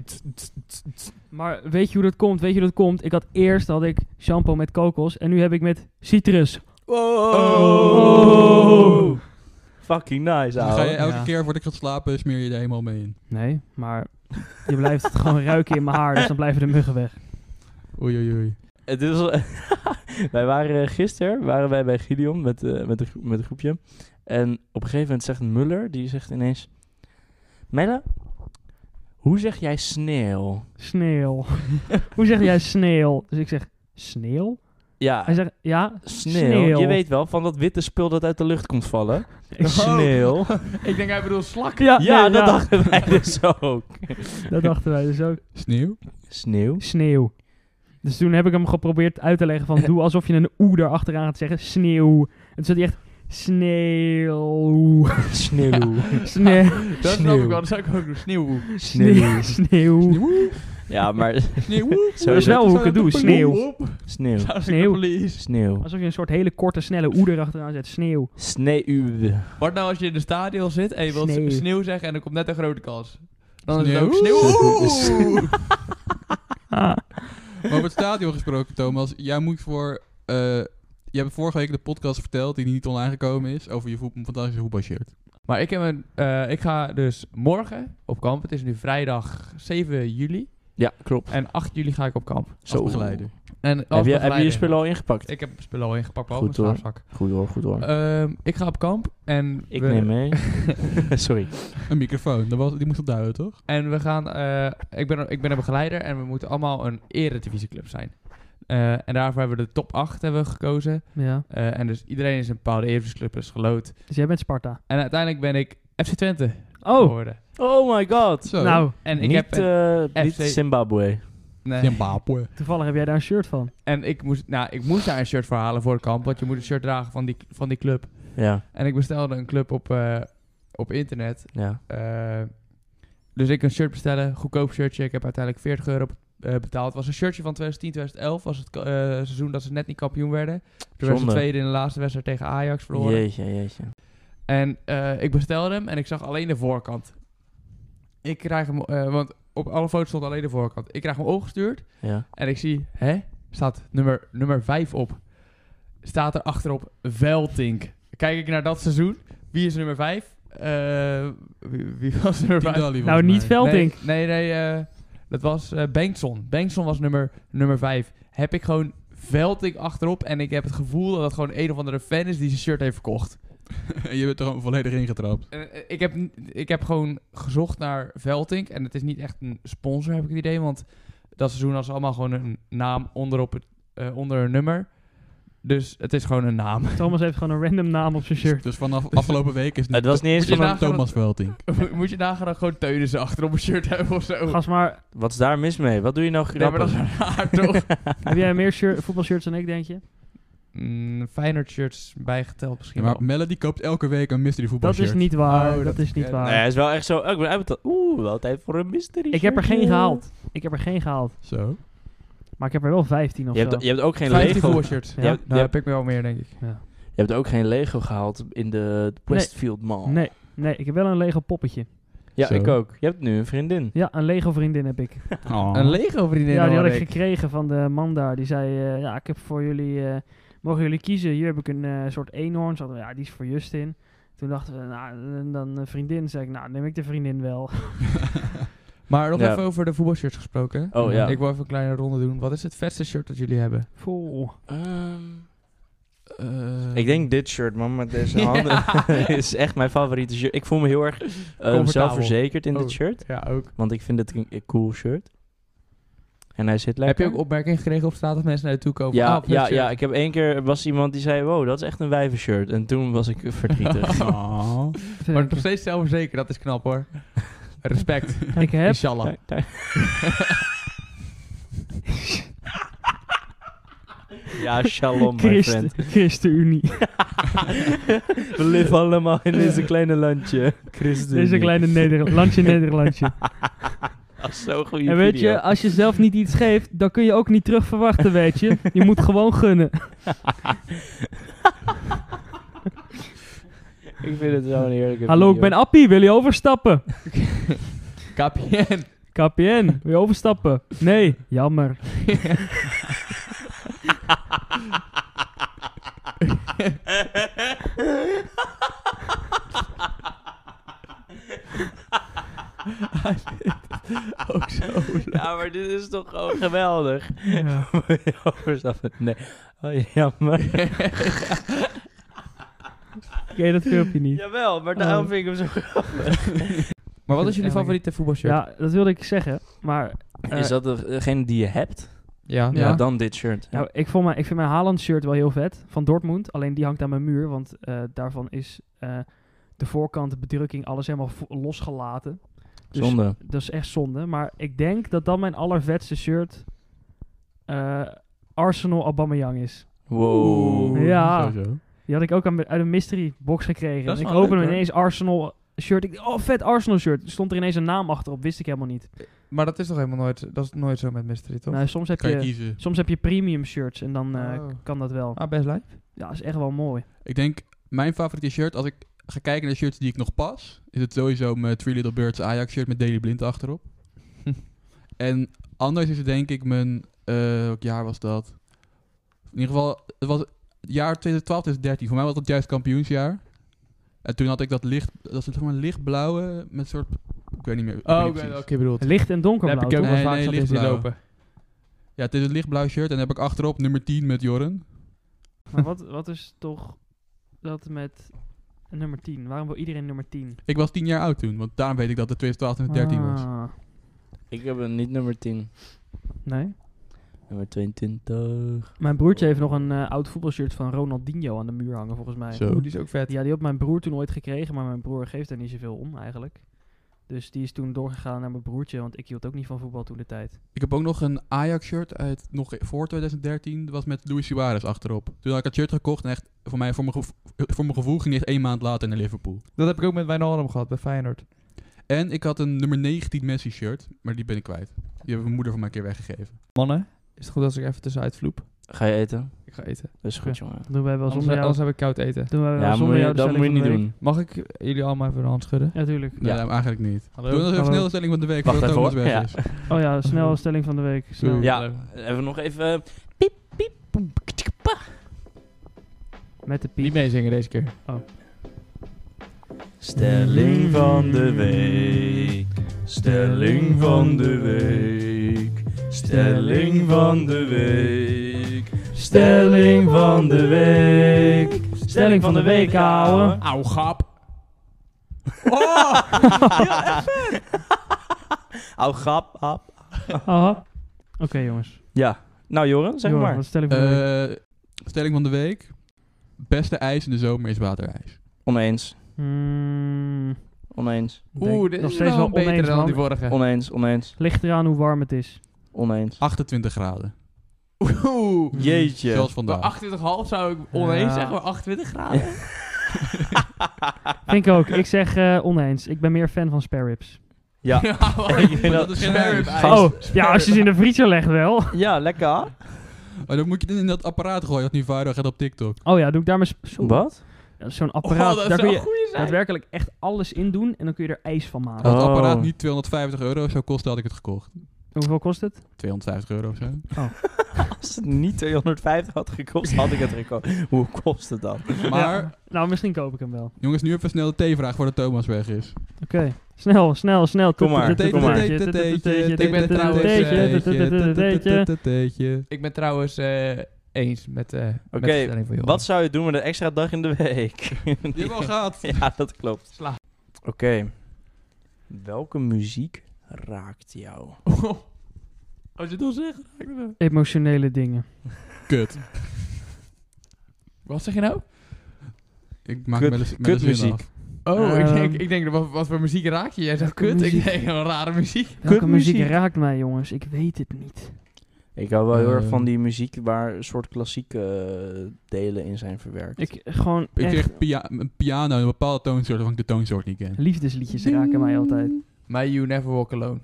C: Maar weet je hoe dat komt? Weet je hoe dat komt? Ik had eerst had ik shampoo met kokos en nu heb ik met citrus.
D: Oh. Fucking nice,
E: Dan ga je
D: ouwe.
E: elke
B: Ja.
E: keer voordat ik ga slapen, smeer je er helemaal mee in.
C: Nee, maar je blijft het gewoon ruiken in mijn haar, dus dan blijven de muggen weg.
E: Oei, oei, oei.
D: Het is al- wij waren eh, gisteren waren wij bij Gideon met, eh, met, een gro- met een groepje. En op een gegeven moment zegt Muller, die zegt ineens... Melle, hoe zeg jij sneeuw?
C: Sneeuw. hoe zeg jij sneeuw? Dus ik zeg, sneeuw?
D: Ja,
C: Hij zegt, ja,
D: sneeuw.
C: sneeuw.
D: Je weet wel, van dat witte spul dat uit de lucht komt vallen.
C: Ik-
D: Sneeuw.
B: Oh, Ik denk, hij bedoelt slak.
C: Ja,
D: Ja,
C: nee,
D: dat
C: ja,
D: dachten wij dus ook.
C: dat dachten wij dus ook.
E: Sneeuw?
D: Sneeuw?
C: Sneeuw. Dus toen heb ik hem geprobeerd uit te leggen van doe alsof je een oe erachteraan gaat zeggen. Sneeuw. En toen zat hij echt sneeuw.
D: Sneeuw.
C: Sneeuw.
B: Dat snap ik wel, dat zou ik ook doen. Sneeuw.
D: Sneeuw.
C: Sneeuw.
D: Ja, maar
E: Sneeuw?
D: zo
C: Dat is
D: is het.
C: wel hoe ik het doe. Sneeuw.
D: Sneeuw.
C: Sneeuw.
D: Sneeuw.
C: Alsof je een soort hele korte, snelle oe erachteraan zet. Sneeuw.
D: Sneeuw.
B: Wat nou als je in de stadion zit en je wilt
C: Sneeuw.
B: sneeuw, zeggen en er komt net een grote kans? Dan is het ook
E: Sneeuw?
B: sneeuw.
C: Ah,
E: Maar over het stadion gesproken, Thomas. Jij moet voor... eh, je hebt vorige week de podcast verteld, die niet online gekomen is, over je voet, fantastische voetbalshirt.
B: Maar ik, heb een, eh, ik ga dus morgen op kamp. Het is nu vrijdag 7 juli.
D: Ja, klopt.
B: En 8 juli ga ik op kamp.
E: Zo.
D: Zo.
E: begeleider.
B: En
D: Heb
B: als
D: je, heb je
B: begeleider.
D: je spullen al ingepakt?
B: Ik heb mijn spullen al ingepakt, behalve
D: Goed
B: mijn
D: hoor.
B: slaapzak.
D: Goed hoor, goed
C: Eh,
D: hoor.
B: Ehm, ik ga op kamp en
D: ik
B: we,
D: neem mee. Sorry.
E: Een microfoon, dat was, die moest op duiden, toch?
B: En we gaan, eh, ik, ben, ik ben een begeleider en we moeten allemaal een eredivisieclub zijn. Eh, en daarvoor hebben we de top 8 hebben we gekozen.
C: ja.
B: Eh, en dus iedereen is een bepaalde eredivisieclub is geloot.
C: Dus jij bent Sparta.
B: En uiteindelijk ben ik FC Twente
C: Oh,
B: geworden.
D: Oh my god.
E: Zo.
C: nou,
B: En ik
D: niet,
B: heb... een-
D: eh, niet
B: FC
D: Zimbabwe.
B: nee.
E: Zimbabwe.
C: toevallig heb jij daar een shirt van.
B: En ik moest, nou, ik moest daar een shirt voor halen voor het kamp. Want je moet een shirt dragen van die, van die club.
D: Ja,
B: En ik bestelde een club op, eh, op internet.
D: ja.
B: Eh, dus ik een shirt bestellen, goedkoop shirtje. Ik heb uiteindelijk 40 euro eh, betaald. Het was een shirtje van 2010, 2011. was het ka- eh, seizoen dat ze net niet kampioen werden. Toen werden
D: Zonde.
B: ze tweede in de laatste wedstrijd tegen Ajax verloren.
D: Jeetje, jeetje.
B: En eh, ik bestelde hem en ik zag alleen de voorkant. Ik krijg hem, eh, want op alle foto's stond alleen de voorkant. Ik krijg hem opgestuurd
D: Ja.
B: en ik zie, hè, staat nummer, nummer 5 op. Staat er achterop Veltink. Kijk ik naar dat seizoen, wie is nummer 5? wie, wie was nummer 5?
E: Tindalli
C: Nou,
E: volgens
C: niet
E: mij.
C: Velding.
B: Nee, nee, nee, eh, dat was eh, Bengtson. Bengtson was nummer, nummer 5. Heb ik gewoon Veltink achterop en ik heb het gevoel dat het gewoon een of andere fan is die zijn shirt heeft verkocht.
E: je bent er gewoon volledig ingetrapt.
B: En, eh, ik, heb, n- ik heb gewoon gezocht naar Veltink. En het is niet echt een sponsor, heb ik het idee. Want dat seizoen hadden ze allemaal gewoon een naam onder, op het, eh, onder een nummer. Dus het is gewoon een naam.
C: Thomas heeft gewoon een random naam op zijn shirt.
E: Dus vanaf afgelopen week is
D: Het was niet eens
B: Moet je
D: van... een-
B: na-
E: Thomas Velting.
B: Moet je nagaan dat gewoon Teunissen achter op een shirt hebben of
D: Oh.
B: zo?
C: Gast maar,
D: Wat is daar mis mee? Wat doe je nou
B: nee, maar dat
D: grappig?
B: is raar, toch?
C: heb jij meer shirt, voetbalshirts dan ik, denk je?
B: Mm, Feyenoord shirts bijgeteld misschien
E: maar
B: wel.
E: Melody koopt elke week een mystery
C: Dat
E: voetbalshirt.
C: is niet waar.
B: Oh,
C: dat,
B: dat-
C: is niet
B: ja,
C: waar.
D: Nee, hij is wel echt zo... Oh, ik ben uitbetaald. Oeh, wel tijd voor een mystery
C: Ik heb er geen
D: shirtje.
C: gehaald. Ik heb er geen gehaald.
E: Zo.
C: Maar ik heb er wel 15 of
D: Je
C: zo.
D: hebt, je hebt ook geen
B: 15
D: Lego...
B: Lego shirts.
C: Ja.
D: Je hebt, je,
B: Daar
D: hebt,
B: heb ik wel meer, denk ik.
D: je hebt ook geen Lego gehaald in de Westfield Mall.
C: Nee, nee, ik heb wel een Lego poppetje.
D: Ja,
E: Zo.
D: ik ook. Je hebt nu een vriendin.
C: Ja, een Lego vriendin heb ik.
E: Oh.
B: Een Lego vriendin
C: ja, die had
B: hoor
C: ik
B: ik.
C: gekregen van de man daar. Die zei, eh, ja, ik heb voor jullie, eh, mogen jullie kiezen. Hier heb ik een eh, soort eenhoorn. Ze hadden, ja, die is voor Justin. Toen dachten we, nou, en dan een vriendin. zei ik, nou, neem ik de vriendin wel.
B: Maar nog
D: Ja.
B: even over de voetbalshirts gesproken.
D: Oh, ja.
B: Ik wil even een kleine ronde doen. Wat is het vetste shirt dat jullie hebben?
C: Vol.
B: Ehm, Eh,
D: ik denk dit shirt, man, met deze
B: Ja.
D: handen. is echt mijn favoriete shirt. Ik voel me heel erg eh, zelfverzekerd in
B: Oh.
D: dit shirt.
B: Ja, ook.
D: Want ik vind het een, een cool shirt. En hij
B: Heb
D: zit lekker.
B: je ook opmerkingen gekregen op straat dat mensen naar je toe komen?
D: ja,
B: Ah,
D: ja,
B: shirt.
D: ja, ik heb één keer was iemand die zei: Wow, dat is echt een wijvenshirt. En toen was ik verdrietig.
E: Oh.
B: Maar nog steeds zelfverzekerd, dat is knap hoor. Respect.
C: ik heb
B: Inshallah.
D: ja, shalom, my
C: Christen,
D: friend.
C: ChristenUnie.
D: We leven allemaal in deze kleine landje. Christus.
C: Dit is een kleine Nederland, landje Nederlandje.
D: Dat is zo'n goede
C: En weet
D: video.
C: je, als je zelf niet iets geeft, dan kun je ook niet terug verwachten, weet je. Je moet gewoon gunnen.
D: Ik vind het wel een heerlijke
C: Hallo, ik ben Appie, wil je overstappen?
B: KPN.
C: KPN, wil je overstappen? Nee, jammer.
B: ook zo.
D: Ja, maar dit is toch gewoon geweldig. Overstappen. Nee. Oh, jammer.
C: Ken je dat filmpje niet?
D: Jawel, maar
C: daarom Oh.
D: daarom vind ik hem zo
B: Maar wat
C: vind
B: is jullie
C: het
B: favoriete voetbalshirt?
C: Ja, dat wilde ik zeggen, maar... eh,
D: Is dat degene die je hebt?
B: Ja.
D: Ja,
E: Ja.
D: dan dit shirt.
C: Nou, ik, vond mijn, ik vind mijn Haaland shirt wel heel vet. Van Dortmund. Alleen die hangt aan mijn muur. Want eh, daarvan is eh, de voorkant, de bedrukking, alles helemaal vo- losgelaten. Dus
D: Zonde.
C: dat is echt zonde. Maar ik denk dat dan mijn allervetste shirt eh, Arsenal Aubameyang is.
D: Wow.
E: Oeh,
C: Ja.
E: sowieso.
C: Die had ik ook aan, uit een mystery box gekregen.
B: Dat is
C: En ik
B: wel leuk,
C: opende hem
B: hoor.
C: ineens Arsenal shirt. Ik dacht, oh, vet Arsenal shirt. Er stond er ineens een naam achterop. Wist ik helemaal niet.
B: Maar dat is toch helemaal nooit, dat is nooit zo met mystery, toch?
C: Nou, soms, heb
E: Kan je
C: je,
E: kiezen.
C: soms heb je premium shirts en dan eh,
B: Oh.
C: kan dat wel.
B: Ah, best lijp.
C: Ja, is echt wel mooi.
E: Ik denk, mijn favoriete shirt, als ik ga kijken naar de shirts die ik nog pas, is het sowieso mijn Three Little Birds Ajax shirt met Daily Blind achterop. en anders is het denk ik mijn, eh, welk jaar was dat? In ieder geval, het was het jaar 2012, 2013. Voor mij was dat juist kampioensjaar. En toen had ik dat licht, dat is zeg maar lichtblauwe met soort, ik weet niet meer. ik weet
B: Oh,
E: niet
B: ik weet
E: precies.
B: welke je bedoelt.
C: Licht en
B: Daar heb
C: donkerblauw.
B: ik ook
C: toch?
B: wel
E: Nee,
B: vaak
E: nee,
B: zat in zien
E: lichtblauw.
B: lopen.
E: Ja, het is een lichtblauw shirt en dan heb ik achterop nummer 10 met Jorren.
C: Maar wat, wat is toch dat met nummer 10? Waarom wil iedereen nummer 10?
E: Ik was 10 jaar oud toen, want daarom weet ik dat het 2012 en 2013 was.
C: Ah,
D: Ik heb een niet nummer 10.
C: Nee.
D: Nummer 22.
C: Mijn broertje heeft nog een eh, oud voetbalshirt van Ronaldinho aan de muur hangen, volgens mij.
E: Zo.
B: Oeh, die is ook vet.
C: Die, ja, die had mijn broer toen ooit gekregen, maar mijn broer geeft er niet zoveel om eigenlijk. Dus die is toen doorgegaan naar mijn broertje, want ik hield ook niet van voetbal toen de tijd.
E: Ik heb ook nog een Ajax-shirt uit nog voor 2013. Dat was met Luis Suarez achterop. Toen had ik het shirt gekocht en echt voor, mij, voor, mijn, gevo- voor mijn gevoel ging die echt één maand later naar Liverpool.
B: Dat heb ik ook met Wijnaldum gehad, bij Feyenoord.
E: En ik had een nummer 19 Messi-shirt, maar die ben ik kwijt. Die hebben mijn moeder voor mij een keer weggegeven.
B: Mannen, is het goed als ik even tussenuit vloep?
D: Ga je eten?
B: Ik ga eten.
D: Dat is goed, jongen.
C: Toen wij wel
B: Anders,
C: zonder jou...
B: anders heb ik koud eten.
C: Toen wij wel
D: Ja,
C: Eh, zonder
D: moet je,
C: jou de
D: dat moet je
C: stelling
D: niet
C: van de
D: doen.
B: Mag ik jullie allemaal even de hand schudden?
C: week- Ja, tuurlijk.
E: Nee, ja. eigenlijk niet.
B: Hallo.
E: Doe nog even
C: Hallo.
E: snel de stelling van de week
D: Wacht
E: voordat
D: even,
E: Thomas
D: hoor.
E: weg
D: Ja.
E: is.
C: Oh ja, snel stelling van de week. Snel.
E: Doe.
D: Ja, even nog even... Piep, piep, boem, ktjkpa.
C: Met de
B: Niet
C: piep.
B: meezingen deze keer.
D: Stelling van de week. Stelling van de week. Stelling van de week. Stelling van de week.
C: Stelling van de week, ouwe.
B: Auw, gap.
D: Au, grap, hap.
C: Aha. Oké jongens.
D: Ja. Nou, Joren, zeg
C: Johan,
D: maar.
C: wat is de stelling van de week?
E: Eh, stelling van de week. Beste ijs in de zomer is waterijs.
D: Oneens.
C: Hmm,
D: Oneens.
B: Oeh,
C: denk-
B: dit
C: nog
B: is
C: steeds
B: wel
C: wel
B: beter
C: oneens,
B: dan
C: man.
B: die vorige.
D: Oneens, oneens,
C: Ligt eraan hoe warm het is.
D: oneens.
E: 28 graden.
B: Oeh.
E: Zoals
D: Jeetje.
B: Maar
E: vandaag.
B: 28,5 zou ik oneens
C: Ja.
B: zeggen, maar 28 graden.
C: Vind ik ook. Ik zeg eh, oneens. Ik ben meer fan van spare ribs.
D: Ja.
B: Ja,
D: Ik vind
E: dat
D: dat-
E: is geen
B: Spare rib
E: ijs.
B: ijs.
C: Oh, ja, als je ze in de vriezer legt wel.
D: Ja, lekker.
E: Maar Oh, dan moet je het in dat apparaat gooien dat nu viral gaat op TikTok.
C: Oh ja, doe ik daar maar... sp- zo-
D: Wat?
C: Dat is Zo'n
B: Oh, dat
C: apparaat. daar kun
B: zou een
C: je
B: goeie zijn.
C: daadwerkelijk echt alles in doen en dan kun je er ijs van maken.
E: Als het
D: Oh.
E: apparaat niet 250 euro zou kosten, had ik het gekocht.
C: Hoeveel kost het?
E: 250 euro of zo.
D: Als het niet 250 had gekost, had ik het gekocht. Hoe kost het dan?
E: Maar,
C: Nou, misschien koop ik hem wel.
E: jongens, nu even snel de T-vraag voordat Thomas weg is.
C: Oké. Snel, snel, snel.
D: Kom maar. Kom maar.
B: eh, Ik ben trouwens eh, eens met, eh met
D: Oké,
B: de stelling van Johan.
D: Wat zou je doen met een extra dag in de week?
E: Die hebben al gehad.
D: ja, dat klopt.
B: Sla.
D: Oké. Welke muziek raakt jou?
B: Oh.
D: Oh,
B: Als je het wil zeggen, ga ik het wel.
C: Emotionele dingen.
E: Kut.
B: Wat zeg je nou?
E: Ik maak
D: Kut-
E: wel eens met
D: kutmuziek.
E: een af.
B: Oh, ik
C: Ehm.
B: denk, ik denk wat, wat voor muziek raak je? Jij zegt
C: Welke
B: kut. Ik
C: muziek?
B: denk, wel rare muziek.
C: Welke muziek
D: Kutmuziek.
C: raakt mij, jongens? Ik weet het niet.
D: Ik hou wel heel erg
E: Eh.
D: van die muziek waar een soort klassieke eh, delen in zijn verwerkt.
C: Ik eh, gewoon
E: Ik
C: echt
E: kreeg pia- een piano in een bepaalde toonsoort waarvan ik de toonsoort niet ken.
C: liefdesliedjes raken mij altijd.
B: My You Never Walk Alone.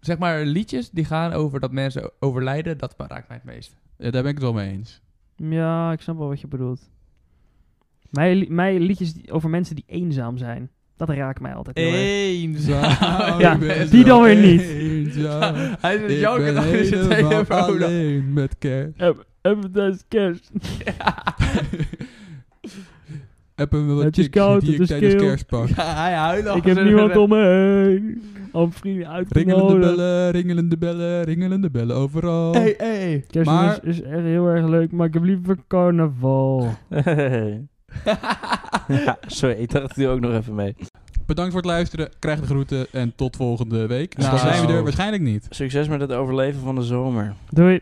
B: Zeg maar liedjes die gaan over dat mensen overlijden, dat raakt mij het meest.
E: Ja, daar ben ik het wel mee eens.
C: Ja, ik snap wel wat je bedoelt. Mijn, li- mijn liedjes die- over mensen die eenzaam zijn, dat raakt mij altijd heel
E: Eh.
C: erg.
E: Eenzaam,
C: Ja,
E: ik ben
C: die dan
E: zo
C: weer niet.
E: Eenzaam.
B: Hij
E: Ik
B: zit janken
E: ben
B: dan is het
E: helemaal
B: telefoon. af.
E: alleen met kerst.
C: is kerst.
E: Appen we wat
C: Het is
E: chicks
C: koud,
E: die
C: het
E: ik
C: is
E: tijdens
C: kil.
E: kerst pak.
B: Ja, hij huilt al.
C: Ik heb niemand om me heen. Om vrienden uit te
E: Ringelende
C: nodigen.
E: bellen, ringelende bellen, ringelende bellen overal.
B: Hey, hey.
C: Kerstmis
E: Maar-
C: is echt heel erg leuk, maar ik heb liever carnaval.
D: ja, sorry, ik dacht er ook nog even mee.
E: Bedankt voor het luisteren. Krijg de groeten en tot volgende week. Dus
D: Nou.
E: Dan zijn we er waarschijnlijk niet.
D: Succes met het overleven van de zomer.
C: Doei.